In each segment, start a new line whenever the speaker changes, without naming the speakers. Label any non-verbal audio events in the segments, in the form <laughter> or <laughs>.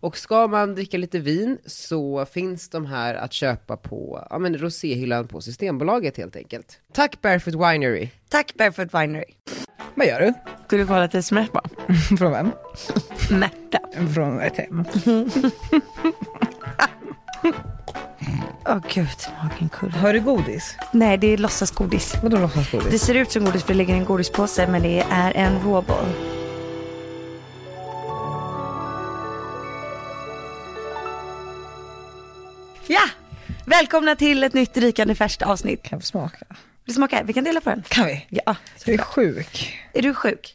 Och ska man dricka lite vin så finns de här att köpa på ja, men roséhyllan på Systembolaget helt enkelt. Tack Barefoot Winery!
Tack Barefoot Winery.
Vad gör du?
Skulle kolla ett sms bara.
Från vem?
Märta.
Från ett hem.
Åh gud, magen kurrar.
Har du godis?
Nej, det är låtsasgodis.
Vadå låtsasgodis?
Det ser ut som godis för det ligger i en godispåse, men det är en råboll. Ja! Välkomna till ett nytt rikande färskt avsnitt.
Kan jag få smaka?
Vill du smaka? Vi kan dela på den.
Kan vi? Mm.
Ja.
Jag är sjuk.
Är du sjuk?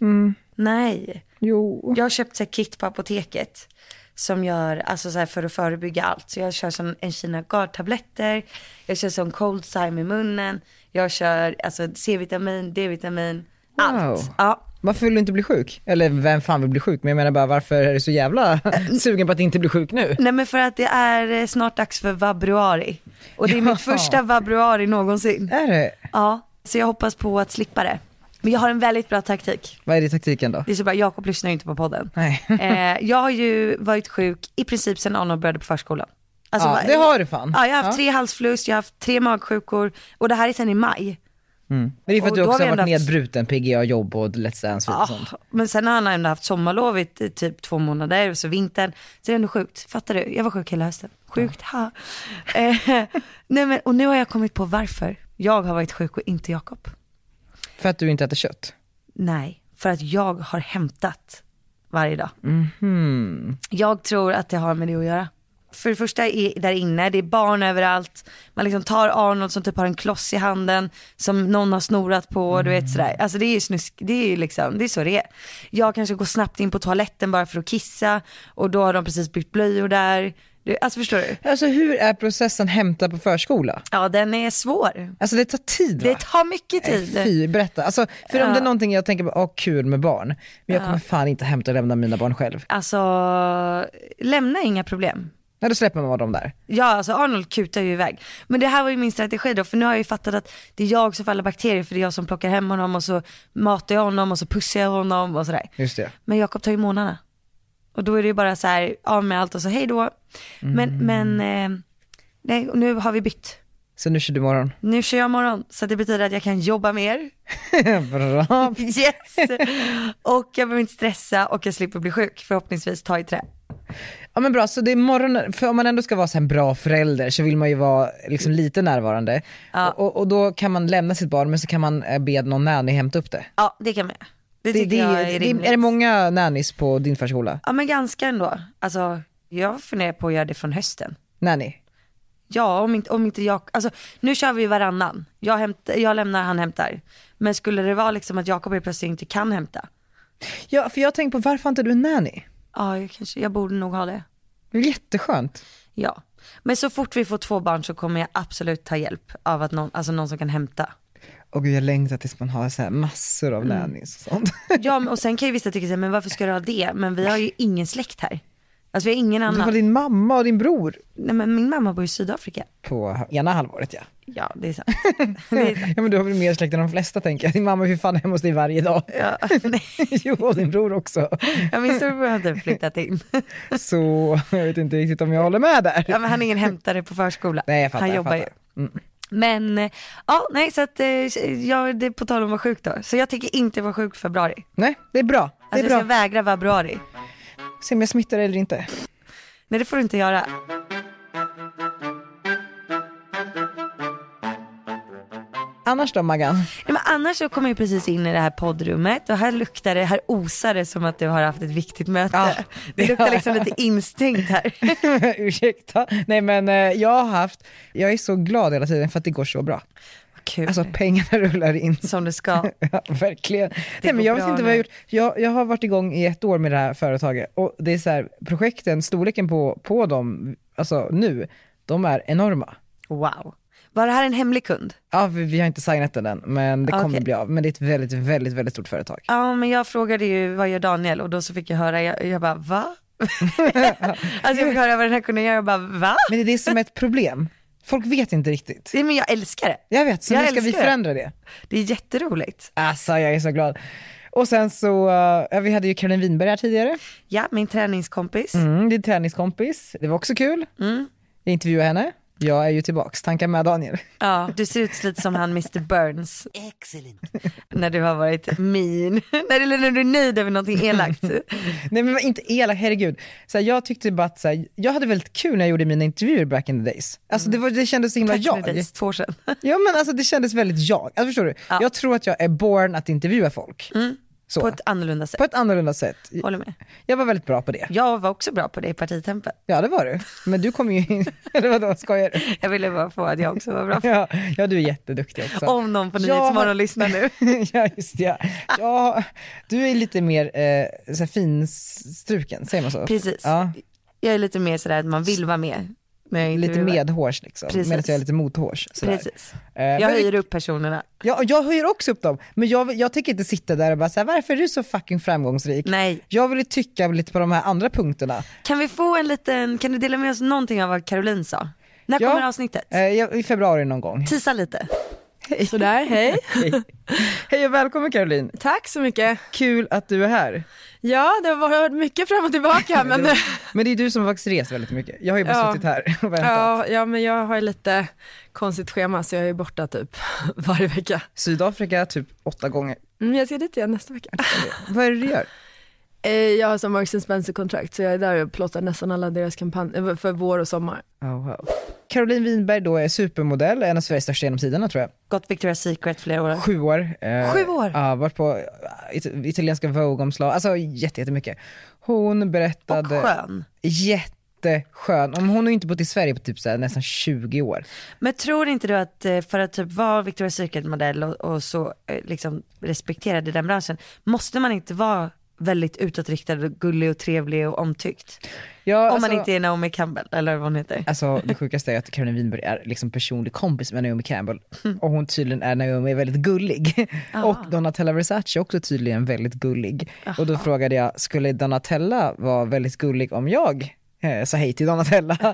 Nej.
Jo.
Jag har köpt så här kit på apoteket som gör, alltså så här för att förebygga allt. Så jag kör som en Kina Guard-tabletter, jag kör som cold cyme i munnen, jag kör alltså C-vitamin, D-vitamin, allt.
Wow.
Ja.
Varför vill du inte bli sjuk? Eller vem fan vill bli sjuk? Men jag menar bara varför är du så jävla sugen på att inte bli sjuk nu?
Nej men för att det är eh, snart dags för vabruari. Och det är mitt första vabruari någonsin.
Är det?
Ja, så jag hoppas på att slippa det. Men jag har en väldigt bra taktik.
Vad är det taktiken då?
Det är så bra, Jakob lyssnar ju inte på podden.
<laughs> Nej.
Eh, jag har ju varit sjuk i princip sedan Arnold började på förskolan. Alltså,
Ja,
va-
det har du fan.
Ja, jag har haft
Ja.
tre halsfluss, jag har haft tre magsjukor och det här är sedan i maj.
Men det är för att
Och
du
då har
också
vi
har varit
ändå haft-
nedbruten, PGA, jobb och Let's Dance och
Ah,
sånt.
men sen har han ändå haft sommarlovet i typ två månader och så vintern. Så det är ändå sjukt, fattar du? Jag var sjuk hela hösten. Sjukt, ha. Eh, <laughs> nej men, och nu har jag kommit på varför jag har varit sjuk och inte Jakob.
För att du inte äter kött.
Nej, för att jag har hämtat varje dag.
Mhm.
Jag tror att det har med det att göra. För det första är där inne, det är barn överallt. Man liksom tar Arnold som typ har en kloss i handen som någon har snorat på, du vet sådär.
Mm.
Alltså det är ju snusk, det är ju liksom, det är så det är. Jag kanske går snabbt in på toaletten bara för att kissa och då har de precis bytt blöjor där. Du- Alltså förstår du?
Alltså hur är processen hämta på förskola?
Ja den är svår.
Alltså det tar tid va?
Det tar mycket tid.
Nej, Fy, berätta. Alltså, för om det är någonting jag tänker på, åh kul med barn, men jag kommer fan inte hämta och lämna mina barn själv.
Alltså, lämna inga problem.
Nej, då släpper man dem där.
Ja, alltså Arnold kutar ju iväg. Men det här var ju min strategi då, för nu har jag ju fattat att det är jag som får alla bakterier, för det är jag som plockar hem honom och så matar jag honom och så pussar jag honom och sådär.
Just det.
Men Jakob tar ju månaderna. Och då är det ju bara så här, av med allt och så hej då. Men,
Mm.
men, eh, nej, och nu har vi bytt.
Så nu kör du imorgon.
Nu kör jag morgon, så det betyder att jag kan jobba mer.
<laughs>
<laughs>
Bra.
Yes! och jag behöver inte stressa och jag slipper bli sjuk, förhoppningsvis ta i trä.
Ja men bra, så det är morgonen, för om man ändå ska vara så här en bra förälder så vill man ju vara liksom lite närvarande. Och, och, och då kan man lämna sitt barn men så kan man eh, be någon nanny hämta upp det.
Ja, det kan man göra. Det
det,
tycker
det,
jag
det-
är rimligt.
är det många nannies på din förskola?
Ja men ganska ändå. Alltså jag funderar på att göra det från hösten.
Nanny?
Ja om inte, om inte jag, alltså nu kör vi varannan. Jag, hämt, jag lämnar, han hämtar. Men skulle det vara liksom att Jakob helt plötsligt inte kan hämta.
Ja för jag har tänkt på varför har inte du en nanny?
Ja jag kanske, jag borde nog ha det.
Det är jätteskönt.
Ja. Men så fort vi får två barn så kommer jag absolut ta hjälp av att någon, alltså någon som kan hämta.
Och gud jag längtar tills man har så här massor av nannies och sånt.
Ja men- och sen kan ju vissa tycka så här, men varför ska du ha det? Men vi har ju ingen släkt här. Alltså vi har
<laughs>
ingen
Du har
annan.
din mamma och din bror
Nej men min mamma bor i Sydafrika.
på ena halvåret ja.
Ja det är sant. <laughs> Det är sant.
<laughs> Ja men du har väl mer släkt än de flesta tänker jag. Din mamma är ju fan hemma hos dig varje dag.
Ja, <laughs> nej.
<laughs> jo och din bror också.
Ja, min storebror har typ flyttat in.
Så jag vet inte riktigt om jag håller med där.
<laughs> Ja, men han är ingen hämtare på förskola.
Nej, jag fattar,
han
jag
jobbar
fattar. Mm.
ju. Men eh, ja, nej så att eh, jag, det är på tal om att vara sjuk då. Så jag tänker inte vara sjuk i februari.
Nej, det är bra. Det
Alltså
är
jag ska
bra.
vägra februari.
Se om jag smittar eller inte.
Nej det får du inte göra.
annars då Maggan? <laughs>
Nej, men annars så kom jag precis in i det här poddrummet och här luktar det, här osar det som att du har haft ett viktigt möte.
Ja,
<laughs> det
det
luktar
har
liksom
jag.
lite instängt här.
<laughs> Ursäkta. Nej men eh, jag har haft, jag är så glad hela tiden för att det går så bra.
Kul.
Alltså pengarna <laughs> rullar in.
som
<laughs>
det ska.
Ja, verkligen. Nej,
går
men jag vet
bra
inte vad jag har
nu.
gjort. Jag, jag har varit igång i ett år med det här företaget och det är så här, projekten, storleken på, på dem, alltså nu, de är enorma.
Wow. Var det här en hemlig kund?
Ja, vi, vi har inte signat den än, men det kommer
Ah, Okej.
bli av. Men det är ett väldigt, väldigt, väldigt stort företag.
Ja men jag frågade ju vad gör Daniel och då så fick jag höra, jag, jag
<laughs>
bara va? alltså jag fick höra vad den här kunden gör och bara va?
Men det är det som är ett problem. Folk vet inte riktigt.
Nej men jag älskar det.
Jag vet, så
Jag
nu ska vi
älskar det.
förändra det.
Det är jätteroligt.
Alltså jag är så glad. Och sen så, eh, ja, vi hade ju Caroline Winberg här tidigare.
Ja, min träningskompis.
Mm, din träningskompis. Det var också kul.
Mm.
Jag intervjuade henne. Jag är ju tillbaks, tankar med Daniel. <laughs>
Ja, du ser ut lite som han Mr Burns. När du har varit mean. <laughs> när, du, när du är nöjd över någonting
<laughs>
elakt.
Nej men inte elak, herregud. Så här, jag tyckte bara att så här, jag hade väldigt kul när jag gjorde mina intervjuer back in the days. Alltså det, var, det kändes så himla
Mm. Tack för
jag.
det, två år sedan.
Ja men alltså det kändes väldigt jag. Alltså förstår du? Jag tror att jag är born att intervjua folk. Så.
Mm. På ett annorlunda sätt.
på ett annorlunda sätt.
Håller med.
Jag var väldigt bra på det.
Jag var också bra på det i partitempen.
Ja det var du. Men du kom ju in, <laughs> eller vadå skojar du?
Jag ville bara få att jag också
<laughs>
var bra på
Ja, ja du är jätteduktig också.
Om någon på
Jag har-
Nyhetsmorgon lyssnar nu.
<laughs> ja just det, ja. ja. Du är lite mer eh, så här finstruken, säger man så?
Precis.
Ja,
Jag är lite mer sådär att man vill vara med. Men jag är inte
lite
vill vara-
medhårs liksom,
Precis.
medan jag är lite mothårs. sådär.
Precis.
Eh,
Jag
men det-
höjer upp personerna.
Jag, jag höjer också upp dem, men jag, jag tänker inte sitta där och bara säga varför är du så fucking framgångsrik?
Nej.
Jag vill ju tycka lite på de här andra punkterna.
Kan vi få en liten, kan du dela med oss någonting av vad Caroline sa? När
Ja.
kommer avsnittet?
Eh, jag- I februari någon
<laughs>
gång.
Tisa lite.
Sådär, hej.
Hej och välkommen Caroline,
Tack så mycket.
kul att du är här.
Ja, det har varit mycket fram och <laughs> tillbaka men,
Men det är du som har faktiskt rest väldigt mycket, jag har ju bara
Ja.
suttit här och väntat.
ja, ja, men jag har ju lite konstigt schema så jag är ju borta typ <laughs> varje vecka.
Sydafrika typ åtta gånger.
Mm, jag ska dit igen nästa vecka.
Vad är det du gör?
Eh, Jag har som Marks Spencer-kontrakt så jag är där och plåtar nästan alla deras kampanjer för vår och sommar.
Oh, wow. Caroline Winberg då är supermodell, en av Sveriges största genom tiderna tror jag.
Gått Victoria's Secret flera år.
Sju år. eh,
Sju år?
Ja, varit på eh, it- italienska Vogue-omslag, alltså jätte- jättemycket. Hon
Och
berättade...
skön.
jätteskön. Om hon har inte bott i Sverige på typ så här, nästan 20 år.
Men tror inte du att eh, för att typ vara Victoria's Secret-modell och, och så eh, liksom respekterad i den branschen, måste man inte vara väldigt utåtriktad och gullig och trevlig och omtyckt?
Ja,
Om man
alltså-
inte är Naomi Campbell eller vad hon heter.
Alltså det sjukaste är att Caroline Winberg är liksom personlig kompis med Naomi Campbell och hon tydligen är Naomi väldigt gullig. Och Donatella Versace är också tydligen väldigt gullig. Och då frågade jag, skulle Donatella vara väldigt gullig om jag eh, sa hej till Donatella?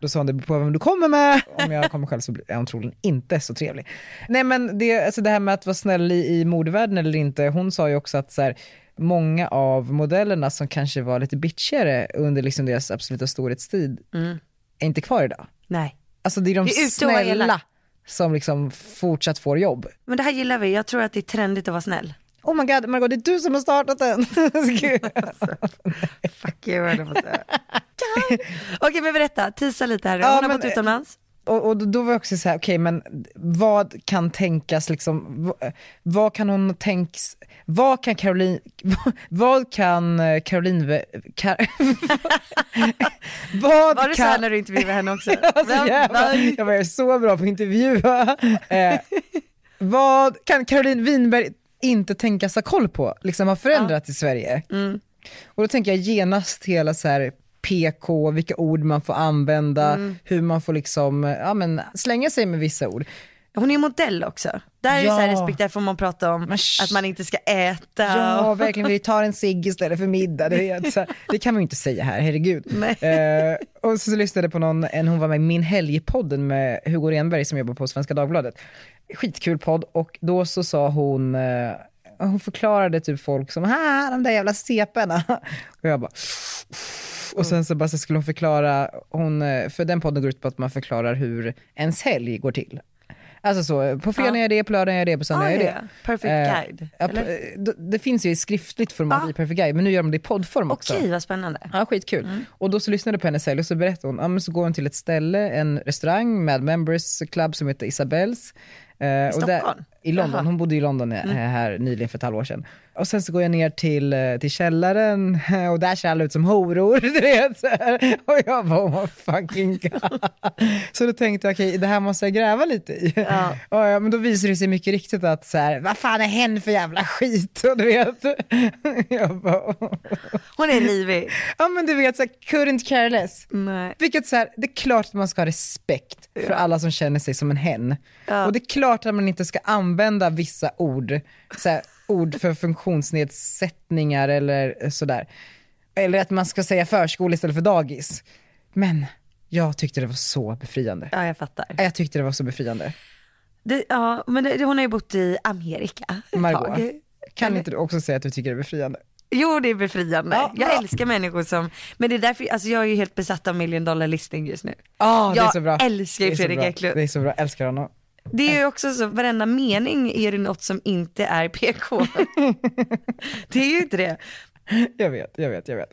då sa hon, det beror på vem du kommer med. Om jag kommer själv så blir- är hon troligen inte så trevlig. Nej men det, alltså det här med att vara snäll i, i modevärlden eller inte, hon sa ju också att så här, många av modellerna som kanske var lite bitchigare under liksom deras absoluta storhetstid är inte kvar idag.
Nej.
Alltså det är de
Det är ute och är
snälla
elak.
som liksom fortsatt får jobb.
Men det här gillar vi, jag tror att det är trendigt att vara snäll.
Oh my god, Margot det är du som har startat
<laughs>
den.
Fuck you, höll jag på att <laughs> säga. Okej men berätta, tisa lite här. Hon
Ja,
har
men-
bott utomlands.
och, och då var jag också så här, okej men vad kan tänkas liksom, vad, vad kan hon tänks, vad kan Caroline, <laughs> vad, kan eh, Caroline, Ve- Kar, <laughs> vad
Var det så
kan
här när du intervjuade
<laughs>
henne också?
Alltså,
Vem-
jävlar,
vem-
jag var så bra på att intervjua. Eh, vad kan Caroline Winberg inte tänkas ha koll på, liksom har förändrat i Sverige?
Mm.
Och då tänker jag genast hela så här PK, vilka ord man får använda,
Mm.
hur man får liksom, ja, men, slänga sig med vissa ord.
Hon är ju modell också. Där
Ja.
är ju så här respekt, där får man prata om
Men sh-
att man inte ska äta.
Ja,
och-
verkligen. Vi tar en cigg istället för middag. Du vet. Så här, Det kan man ju inte säga här, herregud. Eh, och så, så lyssnade jag på någon, en, hon var med i Min helg-podden med Hugo Renberg som jobbar på Svenska Dagbladet. Skitkul podd och då så sa hon, eh, hon förklarade typ folk som, ah, de där jävla separna. Och jag bara, och sen så bara så skulle hon förklara, hon, eh, för den podden går ut på att man förklarar hur ens helg går till. Alltså så, på fredag är det, på lördag är det, på söndag
Ja,
är
Ah, ja,
det.
ja. Perfect
Eh,
guide,
ja,
eller?
p- d- det finns ju i skriftligt format
Ja.
i Perfect Guide, men nu gör de det i poddform också.
Okej, vad spännande.
Ja, skitkul.
Mm.
Och då så lyssnade jag på hennes helg och så berättade hon, ja men så går hon till ett ställe, en restaurang med members club som heter Isabells. Eh,
I
och där-
Stockholn?
I London,
Jaha. Mm.
hon bodde i London eh, här nyligen för ett halvår sedan. Och sen så går jag ner till, eh, till källaren <laughs> eh, och där ser alla ut som horor, <laughs> du vet. så här. Och jag bara, oh my fucking
<laughs>
god. Så då tänkte jag, okej det här måste jag gräva lite i.
Ja.
Och, <laughs> ja, men då visar det sig mycket riktigt att så här, vad fan är hen för jävla skit? <laughs> Och du vet. Jag bara, <laughs> "Åh."
Hon är livig.
<laughs> ja men du vet så här, couldn't care less.
Nej.
Vilket så här, det är klart att man ska ha respekt för alla som känner sig som en hen.
Ja.
Och det är klart att man inte ska använda vissa ord, så här, ord för funktionsnedsättningar eller sådär. Eller att man ska säga förskola istället för dagis. Men jag tyckte det var så befriande.
Ja jag fattar.
Jag tyckte det var så befriande.
Det, ja, men det, hon har ju bott i Amerika ett
Margot,
tag.
kan inte du också säga att du tycker det är befriande?
Jo det är befriande.
Ja,
jag
bra.
älskar människor som, men det är därför, alltså jag är ju helt besatt av million dollar listing just nu.
Ah, det är
Jag
så bra.
älskar ju
Det är så
Fredrik
bra.
Eklund.
Det är så bra, jag älskar honom.
Det är ju också så, varenda mening är det något som inte är PK. det är ju inte det.
Jag vet, jag vet, jag vet.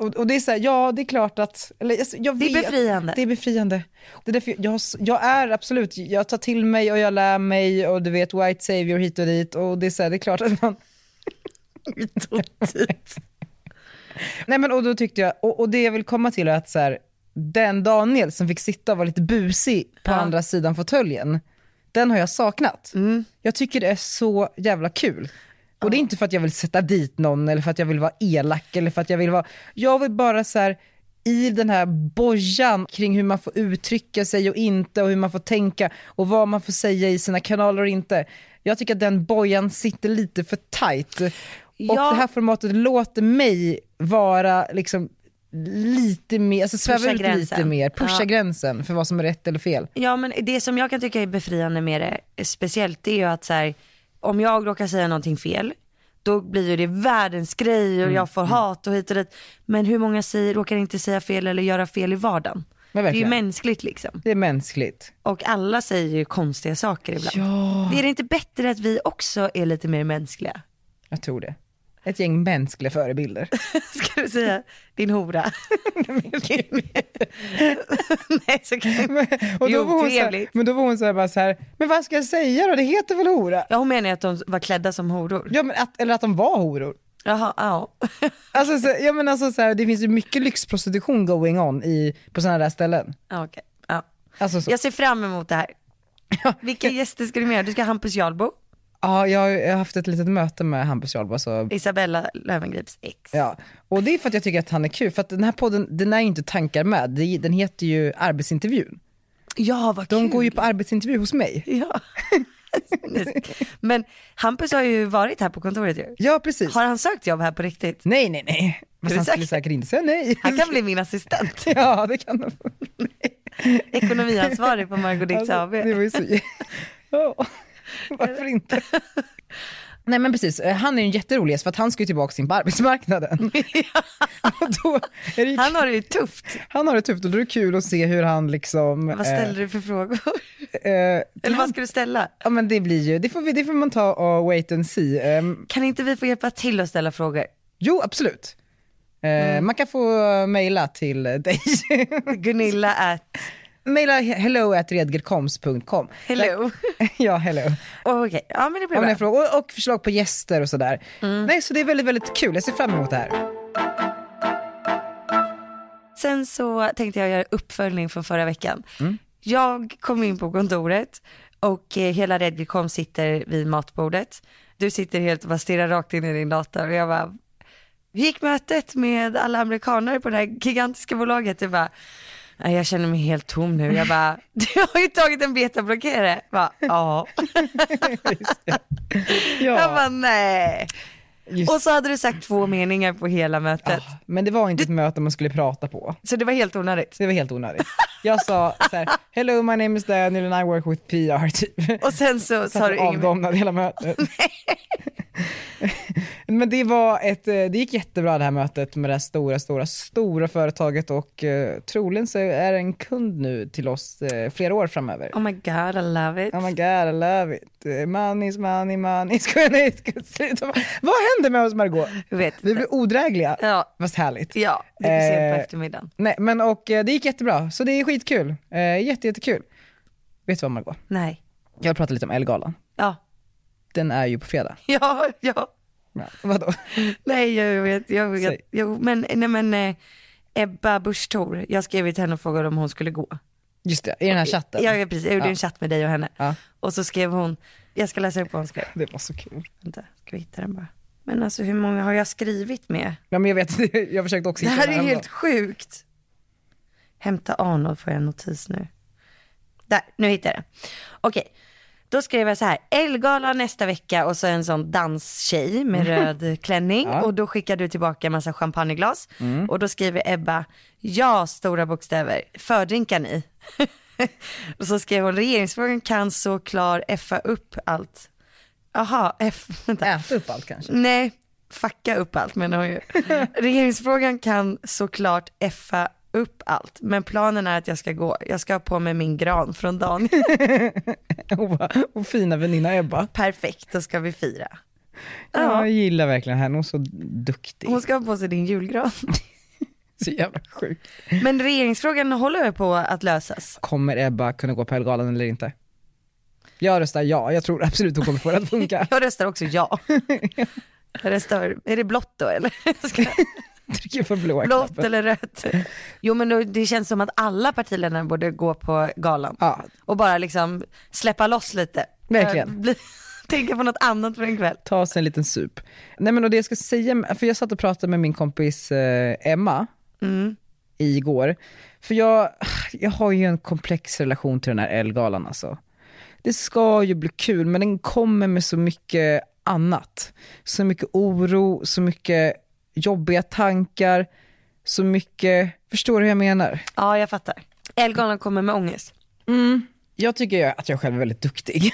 Och, och det är så här, ja det är klart att, eller, alltså, jag
Det är
vet,
befriande.
Det är befriande. Det är därför jag- jag, har s- jag är absolut, jag tar till mig och jag lär mig och du vet white savior hit och dit och det är så här, det är klart att man... <laughs> hit och dit. Nej men och då tyckte jag, och, och det jag vill komma till är att så här, den Daniel som fick sitta och vara lite busig på andra sidan fåtöljen, den har jag saknat.
Mm.
Jag tycker det är så jävla kul. Och det är inte för att jag vill sätta dit någon eller för att jag vill vara elak eller för att jag vill vara, jag vill bara så här i den här bojan kring hur man får uttrycka sig och inte och hur man får tänka och vad man får säga i sina kanaler och inte. Jag tycker att den bojan sitter lite för tight. Och
Ja.
det här formatet låter mig vara liksom lite mer, alltså sväva
Pusha
ut lite
gränsen.
mer, pusha
Ja.
gränsen för vad som är rätt eller fel.
Ja men det som jag kan tycka är befriande med det speciellt det är ju att så här, om jag råkar säga någonting fel då blir ju det världens grej och jag får hat och hit och dit. Men hur många säger, råkar inte säga fel eller göra fel i vardagen? Det
Men
är ju
verkligen.
mänskligt liksom.
Det är mänskligt.
Och alla säger ju konstiga saker ibland. Är det inte bättre att vi också är lite mer mänskliga?
Jag tror det. Ett gäng mänskliga förebilder. <laughs>
<laughs> Ska du säga din hora? <laughs> Nej så kan jag
Men- och
Det är
då var hon så här,
otrevligt.
men då var hon så här, bara så här, men vad ska jag säga då? Det heter väl hora?
Ja hon menar ju att de var klädda som horor.
Ja, men att, eller att de var horor.
Jaha, <laughs> ja.
Alltså, så, ja, men alltså, så här, det finns ju mycket lyxprostitution going on i, på sådana där ställen.
ja okej. Ja.
Alltså, så,
Jag ser fram emot det här. Vilka gäster ska du med? Du ska ha Hampus Jarlbo,
ja, jag har ju- jag har haft ett litet möte med Hampus Jarlbo. Så,
Isabella Löwengrips ex.
ja. Och det är för att jag tycker att han är kul. För att den här podden, den är ju inte tankar med. Det- Den heter ju arbetsintervjun.
ja vad
De
kul.
går ju på arbetsintervju hos mig.
Ja. <laughs> Men Hampus har ju varit här på kontoret ju.
Ja, precis.
Har han sökt jobb här på riktigt?
Nej, nej, nej. Fast
du
han skulle
säker?
säkert inte säga nej.
Han kan bli min <laughs> assistent,
<laughs> Ja, det kan han.
ekonomiansvarig på Margot Dietz
Alltså,
AB.
det var ju så... <laughs> Ja, Varför inte? <laughs> Nej men precis, Eh, han är ju en jätterolig gäst för att han ska ju tillbaka in på <laughs> arbetsmarknaden. Och då är det ju,
Han har det ju tufft.
han har det tufft och då är det kul att se hur han liksom...
Vad ställer du för frågor?
eh, eh,
Eller vad ska du ställa?
Ja men det blir ju, det får, vi, det får man ta och wait and see. Eh,
Kan inte vi få hjälpa till att ställa frågor?
jo absolut. Eh, Man kan få mejla till dig. <laughs>
<laughs> Gunilla at
mejla hello at redgerkoms.com.
hello.
<laughs> Ja, hello.
Oh, Okej, ja men det Mm. blir
Om ni
bra.
har frågor och- och förslag på gäster och sådär. Nej, så det är väldigt, väldigt kul. Jag ser fram emot det här.
Sen så tänkte jag göra uppföljning från förra veckan. Jag kom in på kontoret och eh, hela Redgecom sitter vid matbordet. Du sitter helt och bara stirrar rakt in i din dator och jag bara, hur gick mötet med alla amerikaner på det här gigantiska bolaget? Du bara, "Nej, jag känner mig helt tom nu. Jag bara, <laughs> du har ju tagit en betablockerare. Jag bara, Ja. Jag bara, nej.
Just.
Och så hade du sagt två meningar på hela mötet.
Men det var inte ett möte man skulle prata på.
Så det var helt onödigt.
Så det var helt onödigt. Jag sa så här, hello my name is Daniel and I work with PR typ.
Och sen så
Så
sa du
att
inget mer.
avdomnade hela
<laughs>
mötet. Men det var ett, eh, det gick jättebra det här mötet med det här stora, stora, stora företaget och eh, troligen så är det en kund nu till oss eh, flera år framöver.
Oh my god, I love it.
Oh my god, I love it. Eh, Money is money, money is <laughs> money. Vad hände med oss Margot?
Jag vet
Vi
inte.
blev odrägliga.
Ja.
Fast härligt.
Ja, det är sent på
Eh,
eftermiddagen.
Nej, men och eh, det gick jättebra, så det är skitkul. Eh, jätte, jättekul. Vet du vad Margot?
Nej.
Jag pratade lite om Ellegalan.
Ja, <laughs>
Den är ju på fredag.
ja, ja.
Ja. Vadå?
Nej jag vet, jag vet.
Säg.
Jo, men, nej men eh, Ebba Busch Thor, jag skrev till henne och frågade om hon skulle gå.
Just det, i den här chatten.
Jag, jag, precis, jag gjorde
Ja.
en chatt med dig och henne.
Ja.
Och så skrev hon, jag ska läsa upp vad hon skrev.
Det var så kul.
Vänta, ska vi hitta den bara? Men alltså hur många har jag skrivit med?
Ja, men jag vet, <laughs> jag försökte också
Det här
den
är
häromdagen.
helt sjukt. Hämta Arnold får jag en notis nu. Där, nu hittade jag den. Okej, då skrev jag så här. Elgala nästa vecka och så en sån danstjej med röd klänning. Och då skickar du tillbaka en massa champagneglas. Och då skriver Ebba, ja stora bokstäver, fördrinkar ni? <laughs> och så skrev hon, regeringsfrågan kan såklart effa upp allt. Aha, F, <laughs> vänta.
Äta upp allt kanske. <laughs>
Nej, fucka upp allt menar hon ju. Regeringsfrågan kan såklart effa upp allt, men planen är att jag ska gå. Jag ska ha på mig min gran från dagen.
Hon bara, och fina väninna Ebba.
Perfekt, då ska vi fira.
Ja.
Ja,
Jag gillar verkligen henne, hon är så duktig.
hon ska ha på sig din julgran.
Så jävla sjuk.
Men regeringsfrågan håller väl på att lösas?
Kommer Ebba kunna gå på Ellegalan eller inte? Jag röstar ja, jag tror absolut hon kommer få det att
<laughs>
funka.
Jag röstar också ja. Jag röstar, är det blått då eller? <laughs> Jag ska-
Jag trycker på blåa
Blått
knappen.
eller rött? Jo men då, det känns som att alla partiledarna borde gå på galan.
Ja,
och bara liksom släppa loss lite.
Verkligen.
Eh, Bli, <laughs> tänka på något annat för en kväll.
ta sig en liten sup. Nej men och det jag ska säga, för jag satt och pratade med min kompis eh, Emma
Mm.
igår. För jag, jag har ju en komplex relation till den här Ellegalan alltså. Det ska ju bli kul men den kommer med så mycket annat. Så mycket oro, så mycket jobbiga tankar, så mycket, förstår du hur jag menar?
Ja, jag fattar. Elgalan kommer med ångest.
jag tycker jag, att jag själv är väldigt
<laughs>
duktig.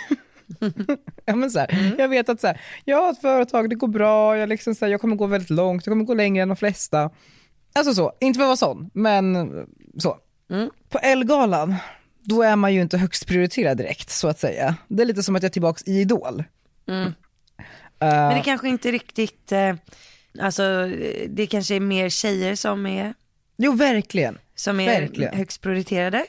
ja, men så här,
Mm.
Jag vet att så här, jag har ett företag, det går bra, jag, liksom så här, jag kommer gå väldigt långt, jag kommer gå längre än de flesta. Alltså så, inte för att vara sån, men så.
Mm.
På Ellegalan, då är man ju inte högst prioriterad direkt så att säga. Det är lite som att jag är tillbaka i Idol.
Mm.
Eh,
Men det kanske inte riktigt, eh, alltså eh, det kanske är mer tjejer som är,
Jo, verkligen.
som är
Verkligen.
högst prioriterade.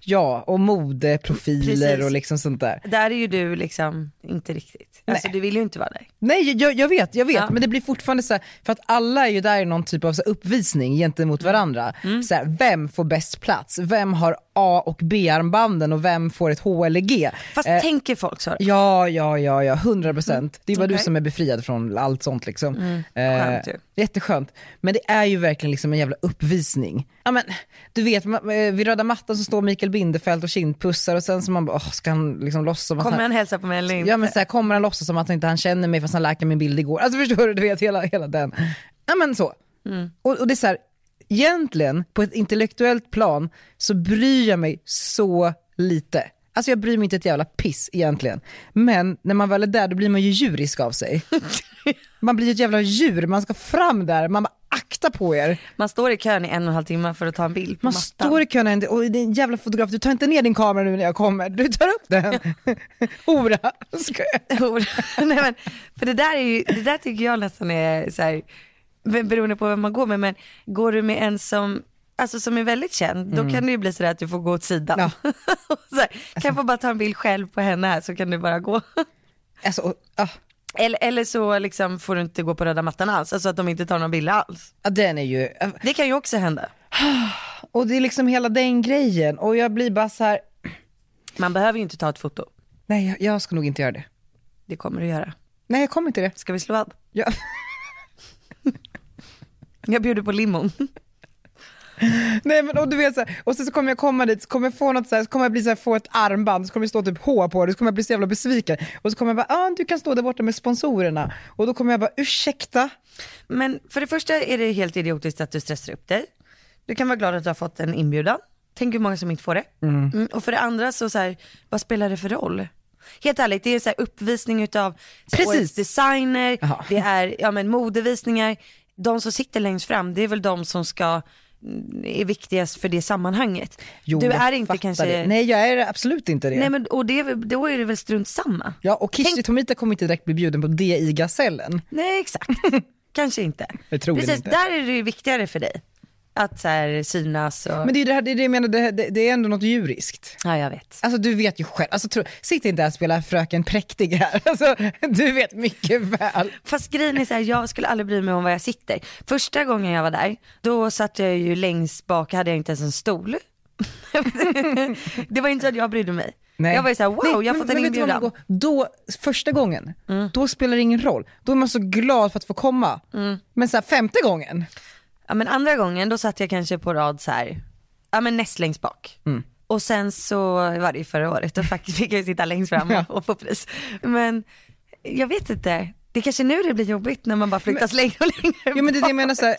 Ja, och modeprofiler
Precis.
och liksom sånt där.
Där är ju du liksom inte riktigt, alltså du vill ju inte vara där.
Nej, jag, jag vet, jag vet.
Ja.
Men det blir fortfarande så här, för att alla är ju där i någon typ av så här uppvisning gentemot
Mm.
varandra. Så här, vem får bäst plats? Vem har A och B-armbanden och vem får ett H eller G?
Fast
Eh,
tänker folk så?
Ja, ja, ja, ja, 100 procent. Det är bara du
Okej. Mm.
som är befriad från allt sånt liksom.
skönt ju.
jätteskönt. Men det är ju verkligen liksom en jävla uppvisning. Ja, men, du vet, ma- eh, vid röda mattan så står Mikael Bindefeld och kindpussar och sen så man bara, åh, ska han liksom låtsas som att
Kommer
han...
han hälsa på mig eller inte?
Ja men så här, kommer han låtsas som att han inte han känner mig fast han läkade min bild igår. Alltså <laughs> förstår du, du vet hela, hela den. Ja men så. Och, och det är så här, egentligen på ett intellektuellt plan så bryr jag mig så lite. Alltså jag bryr mig inte ett jävla piss egentligen. Men när man väl är där då blir man ju djurisk av sig. Man blir ju ett jävla djur, man ska fram där, man bara akta på er.
Man står i kön i en och en halv timme för att ta en bild på
Man
mattan.
står i kön och- och din jävla fotograf, du tar inte ner din kamera nu när jag kommer, du tar upp den. <laughs> Hora, ska jag.
Hora. <laughs> Nej, men, för det där, är ju, det där tycker jag nästan är så här, be- beroende på vem man går med, men går du med en som Alltså som är väldigt känd, då kan det ju bli sådär att du får gå åt sidan. <laughs>
Ja.
så här, kan jag få bara ta en bild själv på henne här så kan du bara gå. <laughs>
Alltså, och, ah.
Eller, eller så liksom får du inte gå på röda mattan alls, alltså att de inte tar några bilder alls.
Ja, den är ju,
Det kan ju också hända.
och det är liksom hela den grejen och jag blir bara så här.
Man behöver ju inte ta ett foto,
nej jag, jag ska nog inte göra det.
det kommer du göra.
Nej jag kommer inte det.
Ska vi slå vad?
Jag,
Jag bjuder på limon.
<laughs> nej men och du vet så här, och sen så kommer jag komma dit, så kommer jag få något så här, så kommer jag bli så här, få ett armband, så kommer det stå typ H på det, så kommer jag bli så jävla besviken. Och så kommer jag bara, ah, du kan stå där borta med sponsorerna. Och då kommer jag bara, ursäkta?
Men för det första är det helt idiotiskt att du stressar upp dig. Du kan vara glad att du har fått en inbjudan. Tänk hur många som inte får det. Mm, och för det andra så, så här, vad spelar det för roll? Helt ärligt, det är så här uppvisning utav så här,
Precis.
årets designer,
Jaha.
det är ja, men, modevisningar. De som sitter längst fram, det är väl de som ska mm, är viktigast för det sammanhanget.
Jo,
du
jag
är inte
fattar
kanske...
Det. Nej jag är absolut inte det.
Nej, men, och det, är väl- då är det väl strunt samma.
Ja och Kishti Tomita kommer inte direkt bli bjuden på det i Gasellen. <laughs>
Nej exakt, kanske inte.
Jag tror
Precis,
inte.
där är det ju viktigare för dig. att så här, synas och...
Men det är ju det här, det, är det jag menar, det, det, det är ändå något djuriskt.
Ja jag vet.
Alltså du vet ju själv, alltså, tro, sitt inte här och spela fröken präktig här. <laughs> Alltså, du vet mycket väl.
Fast grejen är så här, jag skulle aldrig bry mig om var jag sitter. Första gången jag var där, då satt jag ju längst bak, hade jag inte ens en stol. <laughs> det var inte så att jag brydde mig. Jag var ju såhär, wow jag har fått en
vet du vad,
inbjudan. Mm.
Margot? Då, första gången, då spelar det ingen roll. Då är man så glad för att få komma.
Mm.
Men så här, femte gången,
Ja men andra gången då satt jag kanske på rad så här, ja men näst längst bak.
Mm.
Och sen så var det ju förra året, då faktiskt fick jag ju sitta längst fram och, och få pris. Men jag vet inte, det är kanske nu det blir jobbigt när man bara flyttas längre och längre
Jo men det är det jag menar
bak.
så här,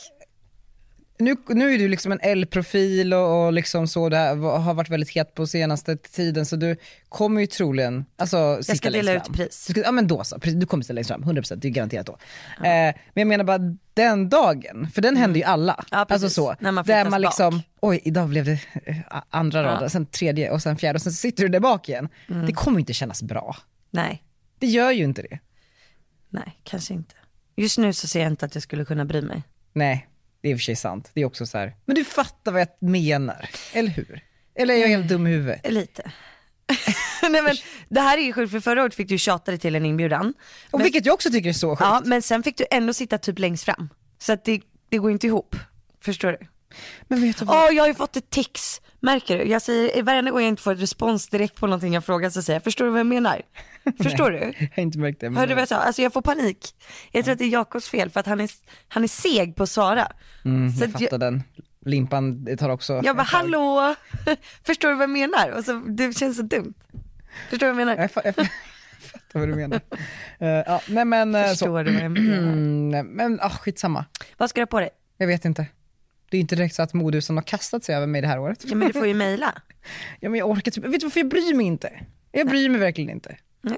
nu, nu är du liksom en L-profil och, och liksom så, det här, har varit väldigt het på senaste tiden så du kommer ju troligen, alltså sitta
ska
längst
dela
fram.
ut pris.
Du ska, ja men då så, precis, du kommer sitta längst fram, 100% det är garanterat då. Eh, men jag menar bara den dagen, för den händer ju alla.
Mm. Ja, precis.
alltså så,
När man
där
flyttas
man
bak.
liksom, oj idag blev det eh, andra raden, sen tredje och sen fjärde och sen sitter du där bak igen.
Mm.
Det kommer ju inte kännas bra.
Nej,
Det gör ju inte det.
nej kanske inte. Just nu så ser jag inte att jag skulle kunna bry mig.
Nej, det är i och för sig sant. Det är också så här, men du fattar vad jag menar, eller hur? Eller är jag helt dum i huvudet?
Lite. <laughs> nej men det här är ju sjukt för förra året fick du tjata dig till en inbjudan.
Och vilket jag också tycker är så sjukt.
Ja men sen fick du ändå sitta typ längst fram. Så att det, det går inte ihop. Förstår du?
Men vet du vad?
Åh jag har ju fått ett tics. Märker du? Jag säger, varenda gång jag inte får ett respons direkt på någonting jag frågar så säger jag, förstår du vad
<laughs>
jag menar? Förstår du?
<laughs> Jag har inte märkt det. men-
Hörde du vad jag sa? Alltså jag får panik. Jag tror att det är Jakobs fel för att han är, han är seg på att svara. så
Mm, jag
att
fattar
jag,
den. Limpan det tar också...
jag bara, hallå, <laughs> förstår du vad jag menar? Och så, det känns så dumt. Förstår du vad jag menar?
Jag, fa- jag <laughs> fa- jag fattar vad du menar. Eh, ja, nej men eh, så.
Förstår du vad jag menar?
Mm, nej, men ah, skitsamma.
Vad ska du ha på dig?
Jag vet inte. Det är inte direkt så att modehusen har kastat sig över mig det här året.
Ja men du får ju mejla.
Ja, men jag orkar typ, vet du varför jag bryr mig inte? Jag bryr mig verkligen inte.
Nej.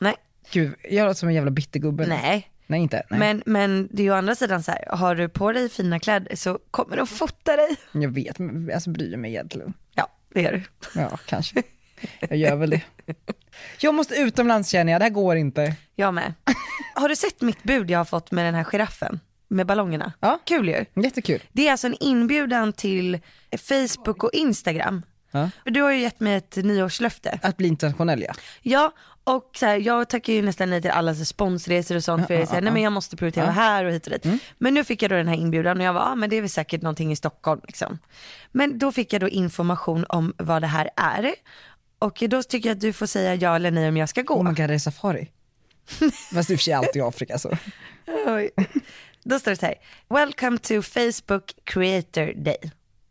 Nej.
Gud, jag låter som en jävla bittergubbe.
Nej.
Nej inte. Nej.
Men, men det är ju å andra sidan så här, har du på dig fina kläder så kommer de fota dig.
Jag vet, men alltså bryr jag mig egentligen.
Ja, det gör du.
Ja, kanske. Jag gör väl det. Jag måste utomlands känner jag, det här går inte. <laughs>
Jag med. Har du sett mitt bud jag har fått med den här giraffen? Med ballongerna?
Ja.
Kul ju.
Jättekul.
Det är alltså en inbjudan till Facebook och Instagram.
Ja.
Du har ju gett mig ett nyårslöfte.
Att bli internationell ja.
Ja, och så här, jag tackar ju nästan nej till alla så sponsresor och sånt för jag säger nej men jag måste prioritera här och hit och dit.
Mm.
Men nu fick jag då den här inbjudan och jag var ah, men det är väl säkert någonting i Stockholm liksom. Men då fick jag då information om vad det här är. Och då tycker jag att du får säga ja eller nej om jag ska gå.
Oh my god, det är safari. Fast i och för sig alltid i Afrika så.
Oj. Då står det så här. Welcome to Facebook Creator Day.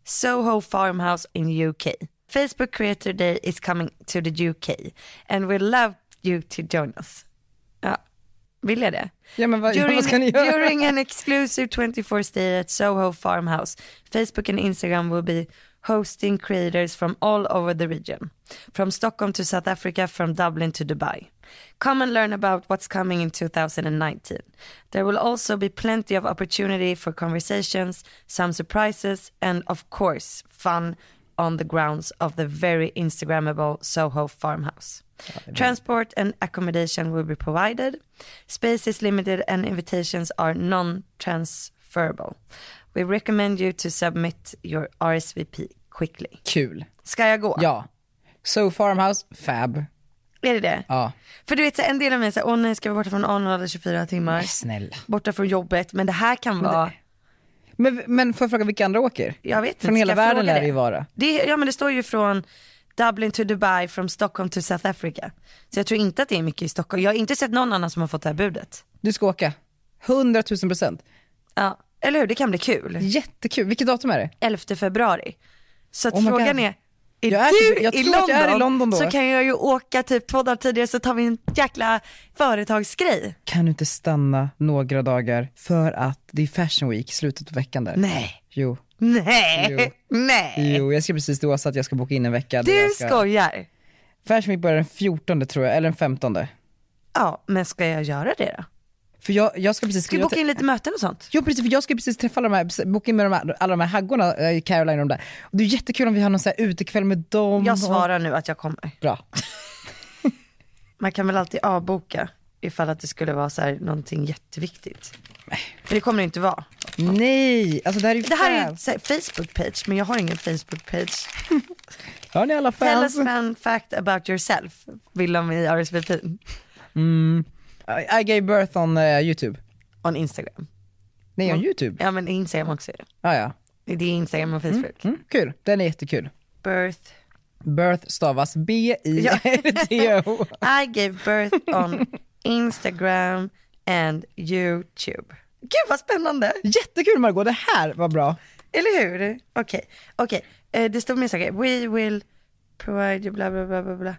Soho Farmhouse in UK. Facebook Creator Day is coming to the UK and we love you to join us. Ja, vill jag det?
Ja men vad, ja,
During,
vad ska ni göra?
during an exclusive 24 stay at Soho Farmhouse, Facebook and Instagram will be hosting creators from all over the region. From Stockholm to South Africa, from Dublin to Dubai. Come and learn about what's coming in 2019. There will also be plenty of opportunity for conversations, some surprises, and of course, fun on the grounds of the very Instagrammable Soho farmhouse. Transport and accommodation will be provided. Space is limited and invitations are non transferable. We recommend you to submit your RSVP quickly.
Kul.
Ska jag gå?
Ja. So farmhouse, fab.
Är det det?
Ja.
För du vet, så en del av mig säger, åh nej, ska vi borta från Arnold i 24 timmar?
Snälla.
Borta från jobbet, men det här kan vara,
Men, men får jag fråga vilka andra åker?
jag vet inte.
Från hela
ska jag
världen
fråga
lär det ju vara.
Det, ja men det står ju från Dublin to Dubai, from Stockholm to South Africa. Så jag tror inte att det är mycket i Stockholm. Jag har inte sett någon annan som har fått det här budet.
Du ska åka. 100 000 procent.
Ja, eller hur? Det kan bli kul.
Jättekul. Vilket datum är det?
11 februari. Så att
Oh my
frågan
God.
är, är
Jag är
du
typ- jag
i,
tror
London,
att jag är i London då.
så kan jag ju åka typ två dagar tidigare så tar vi en jäkla företagsgrej.
Kan du inte stanna några dagar för att det är fashion week slutet på veckan där?
Nej,
Jo.
nej, nej.
Jo, jag skrev precis till Åsa att jag ska boka in en vecka. där
Du
jag ska...
skojar.
Fashion Week börjar den 14 tror jag, eller den 15.
Ja, men ska jag göra det då?
För jag, jag ska precis...
Ska vi
jag-
boka in lite möten och sånt?
Jo precis, för jag ska precis träffa alla de här, boka in med de här, alla de här haggorna, eh, Caroline och de där. Och det är jättekul om vi har någon så här utekväll med dem.
Jag svarar nu att jag kommer.
Bra.
Man kan väl alltid avboka ifall att det skulle vara så här någonting jätteviktigt. Men det kommer det inte vara.
Nej, alltså det här är ju
Det här är
fan.
en så här Facebook-page, men jag har ingen Facebook-page.
Hör ni alla
Tell
fans?
us fun fact about yourself, vill de i RSVP.
Mm. I, I gave birth on eh, YouTube.
On Instagram.
Nej,
Mm.
on YouTube.
Ja men Instagram också. är det.
Ah, ja.
Det är Instagram och Facebook.
mm, kul, den är jättekul.
Birth.
Birth stavas
<laughs>
B-I-R-T-H.
I gave birth on Instagram and YouTube. Gud vad spännande!
Jättekul Margot, det här var bra.
Eller hur? Okej, okej. Eh, det står mer saker. We will provide you bla bla bla bla bla.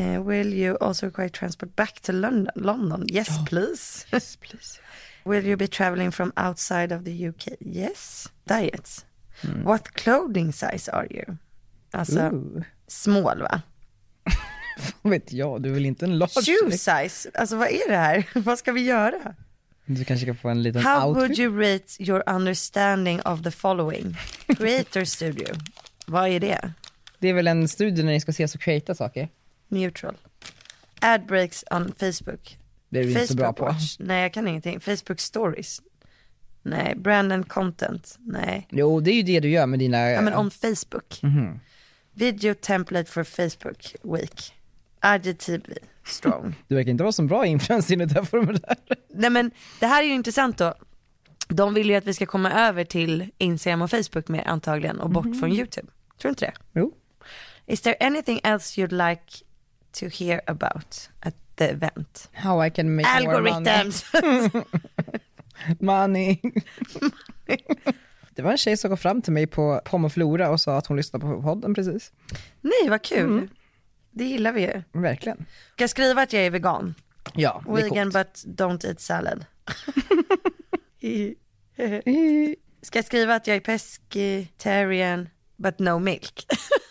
Eh, will you also require transport back to London? London? Yes please. <laughs> Yes please. will you be traveling from outside of the UK? Yes. Diets. What clothing size are you? Alltså, small va?
Vad vet jag, du är väl inte en large? liksom?
Shoe size, alltså vad är det här? <laughs> vad ska vi göra?
Du kanske kan få en liten
How
outfit.
would you rate your understanding of the following? Creator studio, vad är det?
Det är väl en studie när ni ska ses och creata saker?
Neutral. Ad breaks on Facebook.
Det är du inte så bra på.
Watch. Nej jag kan ingenting. Facebook stories. Nej, brand and content. Nej.
Jo, det är ju det du gör med dina...
Ja, men om Facebook.
Mm-hmm.
Video template for Facebook week. IGTV
<laughs>
strong.
Du verkar inte vara så bra influencer i det här formuläret.
Nej men det här är ju intressant då. De vill ju att vi ska komma över till Instagram och Facebook mer antagligen och
Mm-hmm.
bort från YouTube. Tror du inte det?
Jo.
Is there anything else you'd like to hear about at the event?
How I can make more
Algorithms! <laughs>
money. <laughs> money. det var en tjej som kom fram till mig på Pom och Flora och sa att hon lyssnade på podden precis.
Nej vad kul.
Mm.
Det gillar vi ju.
Verkligen.
Ska jag skriva att jag är vegan?
Ja, det är
Vegan
coolt.
but don't eat salad. Ska jag skriva att jag är pescetarian but no milk?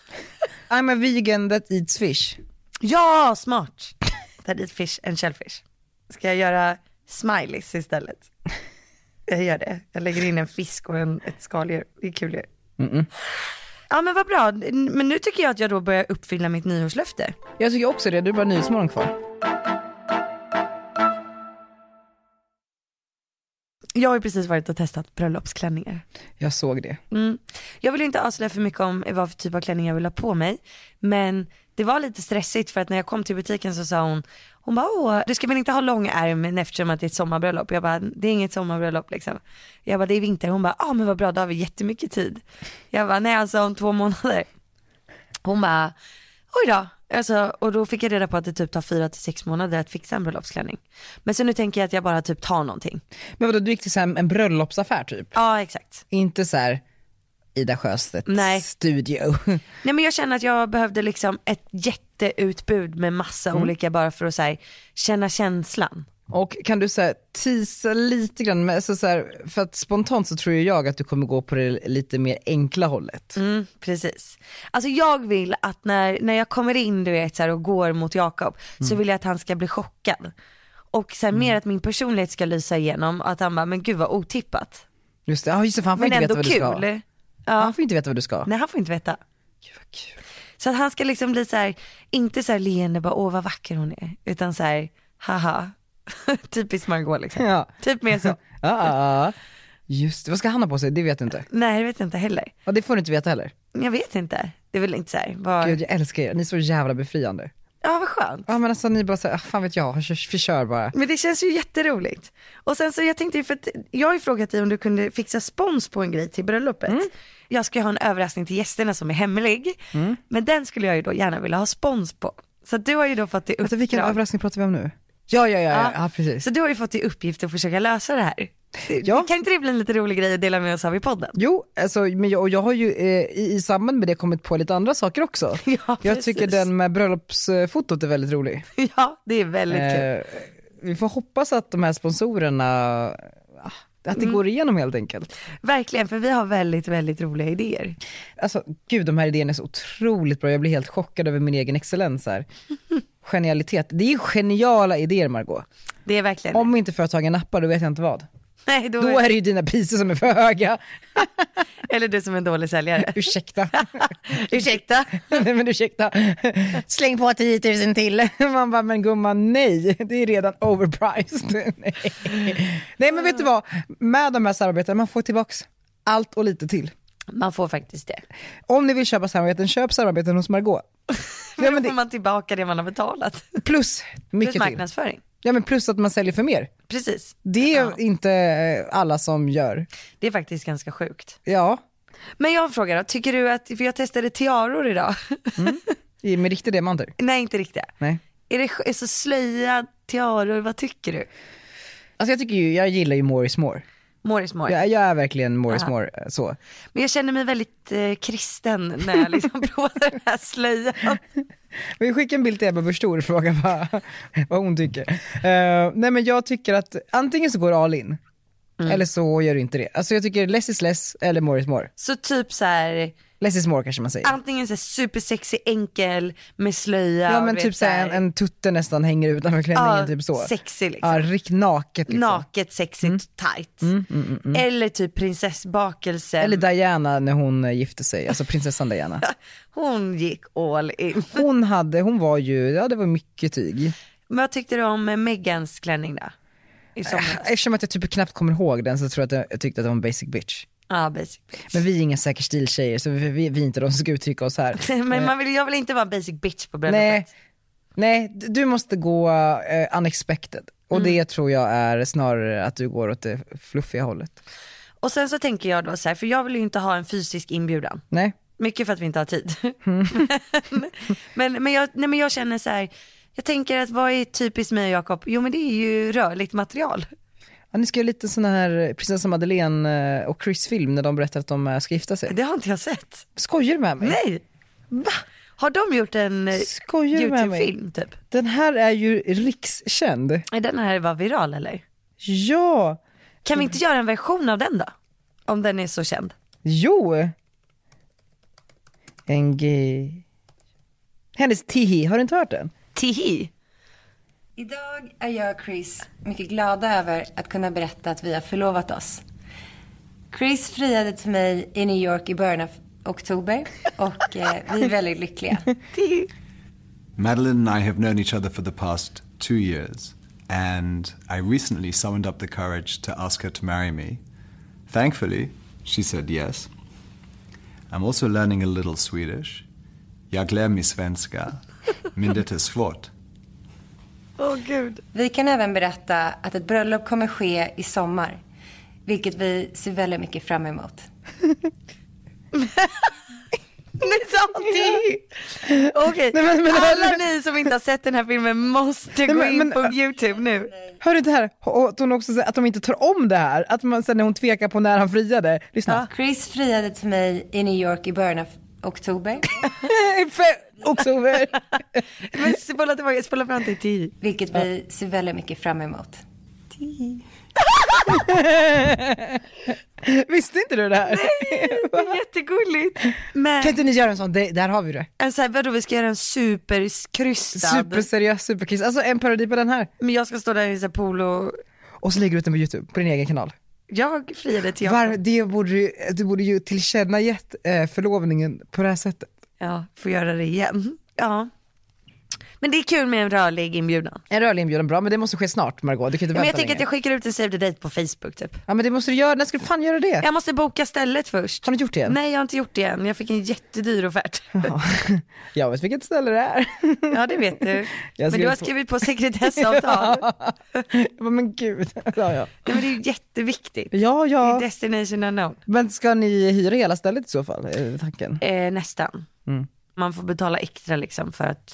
<laughs> I'm a vegan that eats fish.
ja,
<laughs>
smart! That eat fish and shellfish. Ska jag göra
<laughs>
smileys istället? Jag gör det. Jag lägger in en fisk och en, ett skaldjur. Det är kul ju. Ja men vad bra. Men nu tycker jag att jag då börjar uppfylla mitt nyårslöfte.
Jag tycker också det, du är bara Nyhetsmorgon kvar.
Jag har ju precis varit och testat bröllopsklänningar.
Jag såg det.
Mm. Jag vill inte avslöja för mycket om vad för typ av klänning jag vill ha på mig. Men det var lite stressigt för att när jag kom till butiken så sa hon, hon bara åh, du ska väl inte ha lång ärm eftersom att det är ett sommarbröllop? Jag bara, det är inget sommarbröllop liksom. Jag bara, det är vinter. Hon bara, ah men vad bra, då har vi jättemycket tid. Jag bara, nej alltså om två månader. Hon bara, oj då. Alltså, och då fick jag reda på att det typ tar fyra till sex månader att fixa en bröllopsklänning. Men så nu tänker jag att jag bara typ tar någonting.
Men vadå, du gick till så här en bröllopsaffär typ?
Ja exakt.
Inte så här Ida Sjöstedts
Nej.
studio. <laughs>
Nej men jag känner att jag behövde liksom ett jätteutbud med massa
Mm.
olika bara för att så här, känna känslan.
Och kan du så här, teasa lite grann, med, så så här, för att spontant så tror ju jag att du kommer gå på det lite mer enkla hållet.
Mm, precis. Alltså jag vill att när, när jag kommer in du vet, så här, och går mot Jakob
Mm.
så vill jag att han ska bli chockad. Och så här, mer att min personlighet ska lysa igenom att han bara, men gud vad otippat.
Just det, ja just det, för han får
Men
inte veta
ändå
vad du ska.
kul.
Han får inte veta vad du ska.
Nej han får inte veta. Så att han ska liksom bli så här, inte så här leende bara åh vad vacker hon är, utan så här haha. <laughs> Typiskt Margot liksom.
Ja.
Typ mer så.
Ah, just det, vad ska han ha på sig? Det vet du inte.
Nej det vet jag inte heller.
Ja, det får du inte veta heller.
Jag vet inte. Det är väl inte så här. Vad...
Gud jag älskar er, ni är så jävla befriande.
Ja vad skönt.
Ja men alltså ni bara såhär, ah, fan vet jag, kör, förkör bara.
Men det känns ju jätteroligt. Och sen så jag tänkte ju för att jag har ju frågat dig om du kunde fixa spons på en grej till bröllopet. Mm. Jag ska ju ha en överraskning till gästerna som är hemlig. Men den skulle jag ju då gärna vilja ha spons på. Så att du har ju då fått i
Vänta, vilken
uppdrag.
överraskning pratar vi om nu? Ja, ja, ja, ja, ja precis.
Så du har ju fått i uppgift att försöka lösa det här.
Ja.
Kan inte det bli en lite rolig grej att dela med oss av i podden?
Jo, alltså, men jag, och jag har ju eh, i, i samband med det kommit på lite andra saker också.
<laughs> Ja,
jag
precis.
tycker den med bröllopsfotot är väldigt rolig.
Ja, det är väldigt kul.
Eh, vi får hoppas att de här sponsorerna, ah, att det
Mm.
går igenom helt enkelt.
Verkligen, för vi har väldigt, väldigt roliga idéer.
Alltså gud, de här idéerna är så otroligt bra. Jag blir helt chockad över min egen excellens
<laughs>
här. Genialitet. Det är geniala idéer Margot.
Det är verkligen
Om inte företagen nappar, då vet jag inte vad.
<laughs> Nej, då
Då
är...
är det ju dina priser som är för höga.
<laughs> Eller du som är en
<laughs>
dålig säljare. <laughs>
Ursäkta.
Ursäkta?
<laughs> nej men ursäkta. Släng på 10 000 till. <laughs> Man bara, men gumman nej, det är redan overpriced. <laughs> nej. nej men vet du vad, med de här samarbetena, man får tillbaks allt och lite till.
Man får faktiskt det.
Om ni vill köpa samarbeten, köp samarbeten hos Margot. Ja,
Men
men
då får
det,
man tillbaka det man har betalat.
plus
Plus
mycket till.
marknadsföring.
Ja, men plus att man säljer för mer.
Precis.
Det är inte eh, alla som gör.
Det är faktiskt ganska sjukt.
Ja,
Men jag frågar då, tycker du att, för jag testade tiaror idag.
med riktig diamanter.
<laughs> Nej inte riktigt.
Nej.
Är det sk- är så slöja, tiaror, vad tycker du?
Alltså jag tycker ju, jag gillar ju more is more.
More is more.
Jag, jag är verkligen more is more eh, så.
Men jag känner mig väldigt eh, kristen när
<laughs>
jag liksom provar den här slöjan.
Vi skickar en bild till Ebba Busch Thor och frågar vad, vad hon tycker. Eh, nej men jag tycker att antingen så går du all in,
Mm.
eller så gör du inte det. Alltså jag tycker less is less eller more is more.
Så typ så här,
Less is more kanske man säger.
antingen så här supersexig enkel med slöja.
ja
och
men
du
typ
vet,
så här, en,
här-
en tutte nästan hänger utanför klänningen,
Ja,
typ så.
sexig liksom.
Ja, riktigt naket liksom.
Naket, sexigt, tight.
Mm,
Eller typ prinsessbakelse.
Eller Diana när hon eh, gifte sig, alltså prinsessan
<laughs>
Diana.
Hon gick all in.
Hon hade, hon var ju, ja det var mycket tyg.
Men vad tyckte du om eh, Megans klänning då? I somras?
Eftersom att jag typ knappt kommer ihåg den så tror jag att jag, jag tyckte att det var en basic bitch.
Ja, basic <laughs> bitch.
Men vi är inga säker stil-tjejer så vi, vi, vi är inte de som ska uttrycka oss
<laughs>
här.
Men man vill, jag vill inte vara en basic bitch på
Nej,
bröllopet.
nej d- du måste gå eh, unexpected. Och
Mm.
det tror jag är snarare att du går åt det fluffiga hållet.
Och sen så tänker jag då så här, för jag vill ju inte ha en fysisk inbjudan.
Nej,
Mycket för att vi inte har tid.
Mm.
<laughs> men, men, men, jag, nej, men jag känner så här, jag tänker att vad är typiskt mig och Jakob? Jo men det är ju rörligt material.
ja, ni ska göra lite sån här prinsessa Madeleine eh, och Chris film när de berättar att de eh, ska gifta sig.
Det har inte jag sett.
Skojar du med mig?
Nej. Va? Har de gjort en eh,
Skojar du med mig?
YouTube-film typ?
Den här är ju rikskänd.
Nej, Den här var viral eller?
Ja,
Kan vi inte
Mm.
göra en version av den då? Om den är så känd.
jo. En gay. Hennes Tihi, har du inte hört den?
Tihi.
Idag är jag och Chris mycket glada över att kunna berätta att vi har förlovat oss. Chris friade till mig i New York i början av oktober och eh, vi är väldigt lyckliga.
Madeline and I have known each other for the past two years, and I recently summoned up the courage to ask her to marry me. Thankfully, she said yes. I'm also learning a little Swedish. Jag lär mig svenska, men det är svårt.
<laughs>
Vi kan även berätta att ett bröllop kommer ske i sommar, vilket vi ser väldigt mycket fram emot.
Ni sa Tihi. Okej,
Nej, men- men-
alla ni som inte har sett den här filmen måste gå
men-
in
men-
på YouTube nu.
Hör du det här? Och Att hon också säger att de inte tar om det här. Att man sen när hon tvekar på när han friade. Lyssna.
Chris friade till mig i New York i början av oktober,
<laughs> Fe- Oktober. <laughs>
Men spola tillbaka, spola fram till Tihi.
vilket vi ser väldigt mycket fram emot.
Visste inte du det här? <laughs>
Det är jättegulligt. Men
Kan inte ni göra en sån? Det, där har vi det.
en så här, vadå vi ska göra en superkrystad.
Superseriös superkiss. Alltså en parodi på den här.
Men jag ska stå där i så här polo.
Och så lägger du ut den på YouTube, på din egen kanal.
Jag friade till Jakob.
Var, det borde, ju- du borde ju tillkännagett eh, förlovningen på det här sättet.
Ja, får göra det igen. Ja. Men det är kul med en rörlig inbjudan.
En rörlig inbjudan, bra, men det måste ske snart Margot. Du kan inte
Men jag
vänta
tänker att
längre.
jag skickar ut en save the date på Facebook typ.
Ja men det måste du göra, när ska du fan göra det?
Jag måste boka stället först.
Har du inte gjort det än?
Nej jag har inte gjort det än, jag fick en jättedyr offert.
<laughs> Jag vet vilket ställe det är. <laughs>
Ja det vet du.
Jag
Men du
skrev
har
två-
skrivit
<laughs>
på sekretessavtal.
Jag bara, men gud. <laughs> Ja, ja.
Nej, men det är ju jätteviktigt.
ja,
Det
ja.
är destination unknown.
Men ska ni hyra hela stället i så fall, är tanken?
Eh, nästan.
Mm.
Man får betala extra liksom för att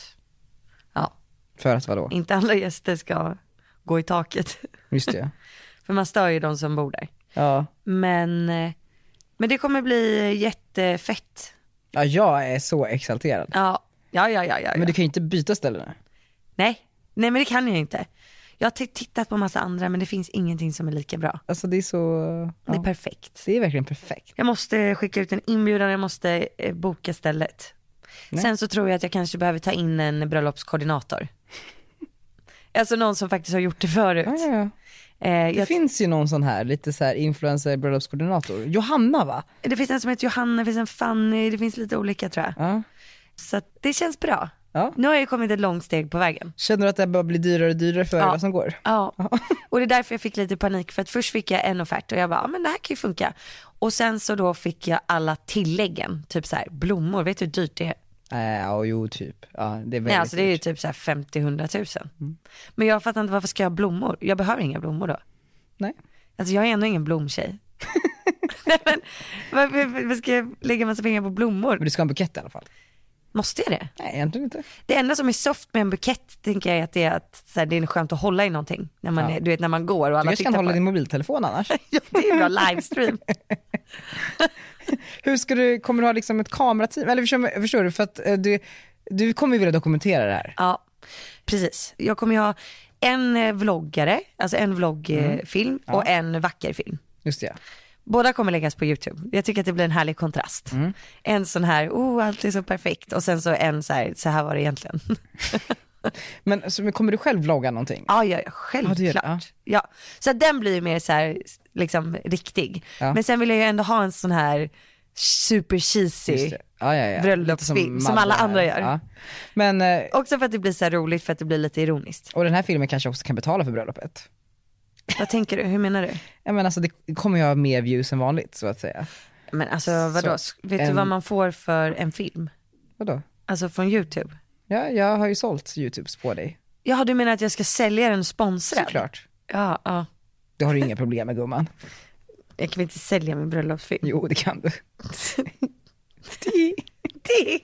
ja,
För att vadå?
inte alla gäster ska gå i taket. <laughs>
Just det.
För man stör ju de som bor där.
Ja.
Men, eh, men det kommer bli jättefett.
ja, jag är så exalterad.
Ja, ja, ja, ja. ja, ja.
Men du kan ju inte byta ställe nu.
Nej. Nej, men det kan jag inte. Jag har t- tittat på massa andra men det finns ingenting som är lika bra.
Alltså det är så...
Det är
Ja.
perfekt.
Det är verkligen perfekt.
Jag måste skicka ut en inbjudan, jag måste eh, boka stället. Sen så tror jag att jag kanske behöver ta
<laughs>
in en bröllopskoordinator. alltså någon som faktiskt har gjort det förut.
Ja, ja, ja.
Eh, jag-
Det finns ju någon sån här, lite så här influencer bröllopskoordinator. Johanna va?
det finns en som heter Johanna, det finns en Fanny, det finns lite olika tror jag.
Ja.
Så att det känns bra.
Ja.
Nu har jag ju kommit ett långt steg på vägen.
Känner du att det här bara blir dyrare och dyrare för varje
Ja.
dag som går?
Ja, och det är därför jag fick lite panik för att först fick jag en offert och jag bara, ah, men det här kan ju funka. Och sen så då fick jag alla tilläggen, typ så här blommor, vet du hur dyrt det är?
Äh, ja, jo typ. Ja, det är
Nej
väldigt
alltså det är ju
dyrt. Mm.
typ så här 50-100 tusen. Men jag fattar inte varför ska jag ha blommor? Jag behöver inga blommor då.
Nej.
Alltså jag är ändå ingen blomtjej.
<laughs>
Nej men varför, varför ska jag lägga massa pengar på blommor?
Men du ska ha en bukett i alla fall?
Måste jag det?
Nej, egentligen inte.
Det enda som är soft med en bukett tänker jag är att det är, att, så här, det är skönt att hålla i någonting. När man,
Ja.
är, du vet när man går och
Du
alla
kanske
tittar
kan
på
hålla din
en.
mobiltelefon
<laughs>
annars?
Ja, det är en bra livestream.
<laughs> Hur ska du, kommer du ha liksom ett kamerateam? Eller förstår, förstår du, för att eh, du, du kommer ju vilja dokumentera det här.
Ja, precis. Jag kommer ju ha en eh, vloggare, alltså en vloggfilm
Mm.
och en vacker film.
Just det ja.
Båda kommer läggas på YouTube. Jag tycker att det blir en härlig kontrast.
Mm.
En sån här, oh allt är så perfekt och sen så en så här, så här var det egentligen. <laughs>
Men, så, men kommer du själv vlogga någonting?
ja, ja, ja,
Ja,
självklart.
det gör det,
Ja, Så att den blir ju mer så här, liksom riktig.
Ja.
Men sen vill jag ju ändå ha en sån här super
Just
cheesy.
det. Ja, ja, ja.
Bröllopsfilm,
Lite
som
Madde
alla
här.
andra gör.
Ja. Men, eh,
Också för att det blir så här roligt, för att det blir lite ironiskt.
och den här filmen kanske också kan betala för bröllopet.
Vad tänker du, hur menar du?
Ja, men alltså, det kommer ju ha mer views än vanligt så att säga.
Men alltså vadå,
Så,
vet du
en-
vad man får för en film?
Vadå?
Alltså från YouTube?
Ja, jag har ju sålt Youtubes på dig,
Jaha du menar att jag ska sälja den sponsrad?
såklart.
Ja, ja.
Det har du inga problem med gumman.
Jag kan väl inte sälja min bröllopsfilm?
Jo, det kan du.
<laughs> Det.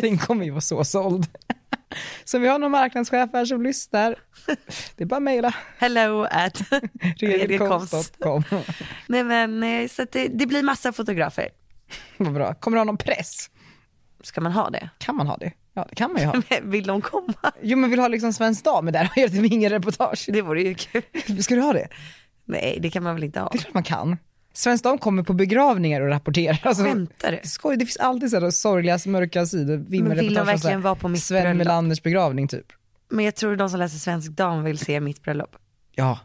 Den kommer ju vara så såld. <laughs> Så om vi har någon marknadschef här som lyssnar, det är bara att mejla.
Hello
<laughs>
at...
Redekons.com.
Nej men eh, så att det, det blir massa fotografer.
Vad bra. Kommer du ha någon press?
Ska man ha det?
Kan man ha det? Ja, det kan man ju
<laughs>
ha.
Vill de komma?
Jo, men vill du ha liksom Svensk Dam? Men där har jag typ ingen reportage.
Det vore ju kul.
Ska du ha det?
Nej det kan man väl inte ha?
Det är klart man kan. Svensk Dam kommer på begravningar och rapporterar. <laughs> Alltså,
Skämtar du?
Skoj, det finns alltid sådana sorgliga, mörka sidor.
Men vill de
vimmelreportage om så här
verkligen vara på mitt
Sven
bröllop?
Melanders begravning typ.
Men jag tror de som läser Svensk Dam vill se mitt bröllop.
Ja.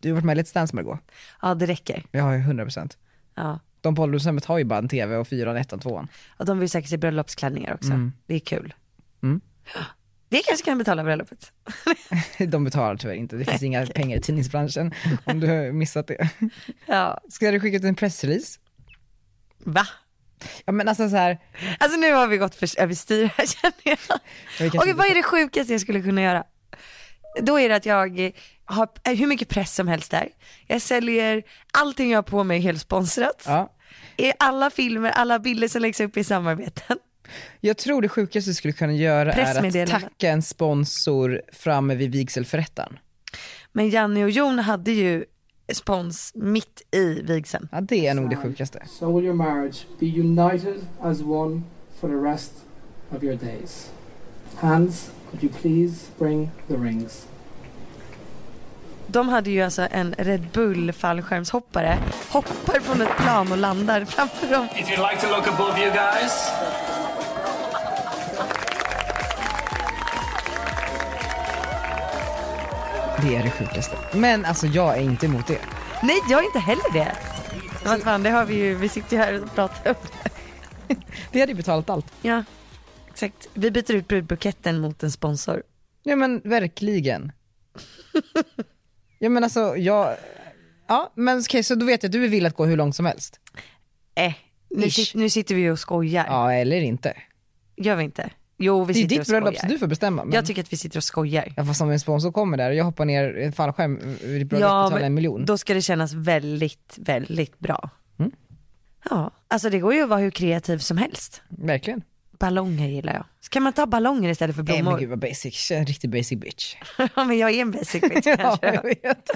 Du har varit med i Let's Dance Margot.
Ja det räcker.
Jag har ju 100%.
Ja.
De på ålderdomshemmet har ju bara en tv och fyran, ettan, tvåan. <laughs>
Och de vill säkert se bröllopsklänningar också.
Mm.
Det är kul. Det kanske kan betala bröllopet.
De betalar tyvärr inte, det finns inga pengar i tidningsbranschen om du har missat det. <laughs>
Ja.
Ska du skicka ut en pressrelease?
Va?
Ja men alltså så här,
Alltså nu har vi gått för, överstyr här känner
vi
jag.
kanske
Okej,
inte-
vad är det sjukaste jag skulle kunna göra? Då är det att jag har eh, hur mycket press som helst där. Jag säljer allting jag har på mig helt sponsrat.
ja.
I Alla filmer, alla bilder som läggs upp i samarbeten.
Jag tror det sjukaste du skulle kunna göra är att
Pressmeddelande.
tacka en sponsor framme vid vigselförrättaren.
Men Janne och Jon hade ju spons mitt i vigseln.
Ja det är nog
Alltså.
det sjukaste.
So will your marriage be united as one for the rest of your days. Hands, could you please bring the rings?
De hade ju alltså en Red Bull fallskärmshoppare, hoppar från ett plan och landar framför dem.
If you'd like to look above you guys.
Det är det sjukaste. Men alltså jag är inte emot det.
Nej, jag är inte heller det. Vad fan, det har vi ju, vi sitter ju här och pratar om.
Det hade ju betalat allt.
Ja, exakt. Vi byter ut brudbuketten mot en sponsor.
Ja men
<laughs>
verkligen. ja men alltså jag, ja men okej så då vet jag att du är villig att gå hur långt som helst.
Eh, nu,
Ish.
sit- nu sitter vi och skojar.
Ja eller inte.
Gör vi inte? Jo, vi
Det är ju
sitter
ditt
och
bröllop så
skojar.
du får bestämma. Men...
Jag tycker att vi sitter och skojar.
Ja fast om en sponsor kommer där och jag hoppar ner i en fallskärm eh, ur ditt bröllop och
Ja,
betalar en miljon. Mm.
då ska det kännas väldigt, väldigt bra. Ja, alltså det går ju att vara hur kreativ som helst.
Verkligen.
Ballonger gillar jag. Ska man ta ballonger istället för
Nej men
blommor?
gud vad basic, en riktig basic bitch.
<laughs> Ja men jag är en basic
<laughs>
bitch
Ja,
<laughs> kanske.
jag vet.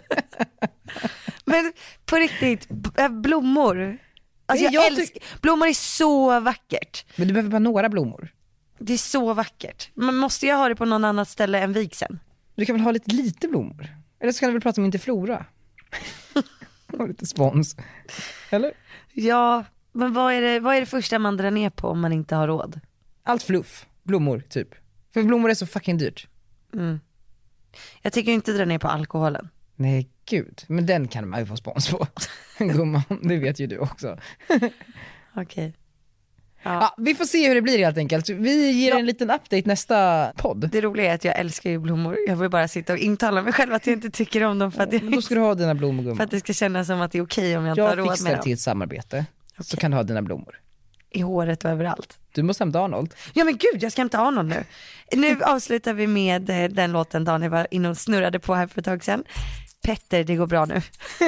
Men på riktigt, b- äh, blommor. Alltså
Nej,
jag,
jag
älskar, blommor är så vackert.
Men du behöver bara några blommor.
Det är så vackert. Men måste jag ha det på någon annat ställe än vigseln?
Du kan väl ha lite, lite blommor? Eller så kan du väl prata om inte
<laughs>
flora? Och lite spons. Eller?
Ja, men vad är, det, vad är det första man drar ner på om man inte har råd?
Allt fluff, blommor typ. För blommor är så fucking dyrt.
Jag tycker inte dra ner på alkoholen.
Nej gud, men den kan man ju få spons på. <laughs> Gumman, det vet ju du också.
Okej.
Ja. vi får se hur det blir helt enkelt. Vi ger en liten update nästa podd.
Det roliga är att jag älskar ju blommor. Jag vill bara sitta och intala mig själv att jag inte tycker om dem för att,
Men då
jag,
ska du ha dina blommor gumman.
<laughs> för att det ska kännas som att det är okej om jag inte har
Jag
råd med
fixar
dem.
till ett samarbete, så kan du ha dina blommor.
I håret och överallt.
Du måste hämta Arnold.
Ja men gud, jag ska inte ha någon nu. Nu avslutar vi med eh, den låten Daniel var inne och snurrade på här för ett tag sedan. Petter, det går bra nu. <laughs>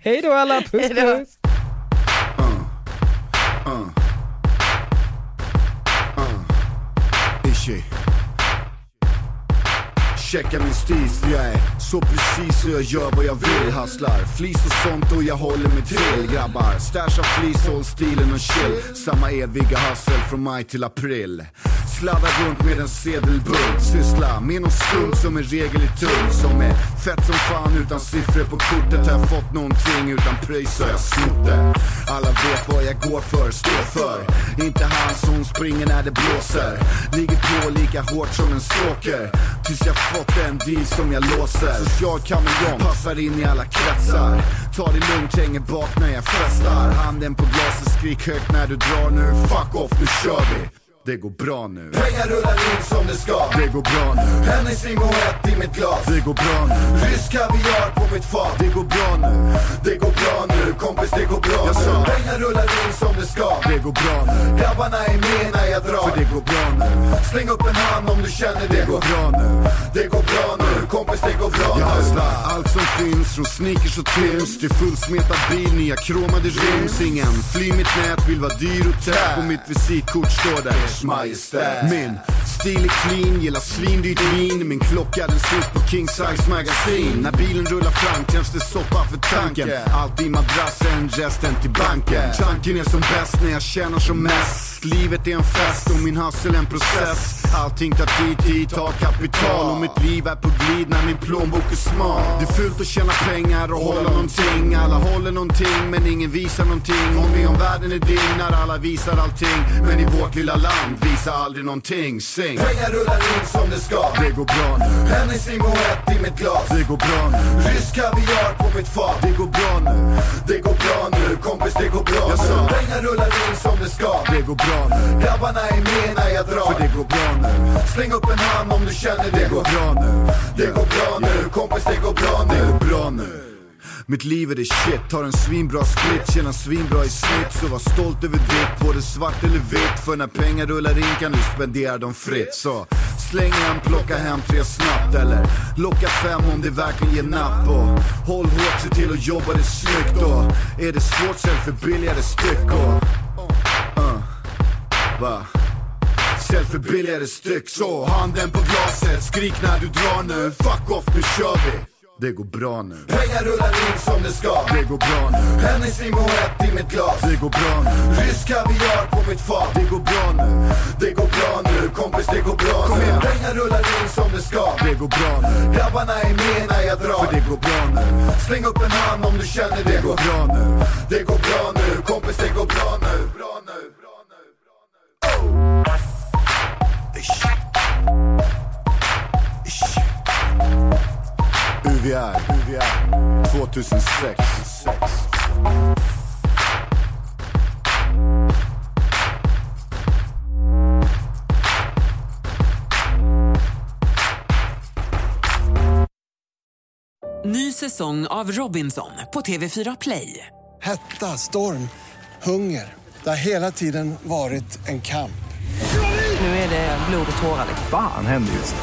Hej då alla, puss puss!
Uh. Uh. Ishi. Checka min stil för jag är så precis och jag gör vad jag vill Hustlar flis och sånt och jag håller mig till Grabbar, stashar flis, håll stilen och chill Samma eviga hustle från maj till april Sladdar runt med en sedelbunt Syssla med någon skum som en regel är tung Som är fett som fan utan siffror på kortet Har jag fått någonting utan pröjs har jag snott det Alla vet vad jag går för, står för Inte han som springer när det blåser Ligger på lika hårt som en stalker Tills jag fått en deal som jag låser Social kameleon, passar in i alla kretsar Ta det lugnt, hänger bak när jag festar Handen på glaset, skrik högt när du drar nu Fuck off, nu kör vi det går bra nu Pengar rullar in som det ska Det går bra nu Hennessy Moët i mitt glas Det går bra nu Rysk kaviar på mitt fat Det går bra nu Det går bra nu kompis det går bra jag sa. Pengar rullar in som det ska Det går bra nu Grabbarna är med när jag drar För det går bra nu Släng upp en hand om du känner det Det går bra nu Det går bra nu kompis det går bra jag hustlar allt som finns från sneakers och tims Till fullsmetad bil, nya kromade rims Ingen fly mitt nät, vill vara dyr och tät På mitt visitkort står det Ers Majestät Min stil är clean, gillar svindyrt vin Min klocka den syns på King Size Magasin När bilen rullar fram krävs det soppa för tanken Allt i madrassen, resten till banken Tanken är som bäst när jag tjänar som mest Livet är en fest och min hustle en process Allting tar tid, tid tar kapital Och mitt liv är på glid när min plånbok är smal Det är fult att tjäna pengar och hålla någonting Alla håller någonting men ingen visar någonting Om vi om världen är din när alla visar allting Men i vårt lilla land visar aldrig någonting Sing!
Pengar rullar in som det ska.
Det går bra nu
Hennessy Moët i mitt glas.
Det går bra nu
Rysk kaviar på mitt fat.
Det går bra nu
Det går bra nu kompis, det går bra
Jag sa.
nu. Pengar rullar in som det ska.
Det går bra nu
Grabbarna är med när jag drar.
För det går bra nu
Släng upp en hand om du känner det.
Det går bra nu
Det går bra nu kompis, det går bra nu.
Det går bra nu mitt liv är det shit, tar en svinbra split, tjänar svinbra i snitt Så var stolt över ditt, både svart eller vitt För när pengar rullar in kan du spendera dem fritt Så släng en, plocka hem tre snabbt Eller locka fem om det verkligen ger napp och Håll hårt, se till att jobba det snyggt och Är det svårt, sälj för billigare styck och uh, va? Sälj för billigare styck Så handen på glaset, skrik när du drar nu Fuck off, nu kör vi Det går bra nu
Pengar rullar in som det ska.
Det går bra nu
Hennessy Moët i mitt glas.
Det går bra nu
Rysk kaviar på mitt fat.
Det går bra nu
Det går bra nu kompis, det går bra
Kom
nu.
igen.
Pengar rullar in som det ska.
Det går bra nu
Grabbarna är med när jag drar.
För det går bra nu
Släng upp en hand om du känner det.
Det går bra nu
Det går bra nu kompis, det går bra nu.
UVR UVR 2006
Ny säsong av Robinson på TV4 Play.
Hetta, storm, hunger. Det har hela tiden varit en kamp.
Nu är det blod och tårar. liksom.
Fan händer just det.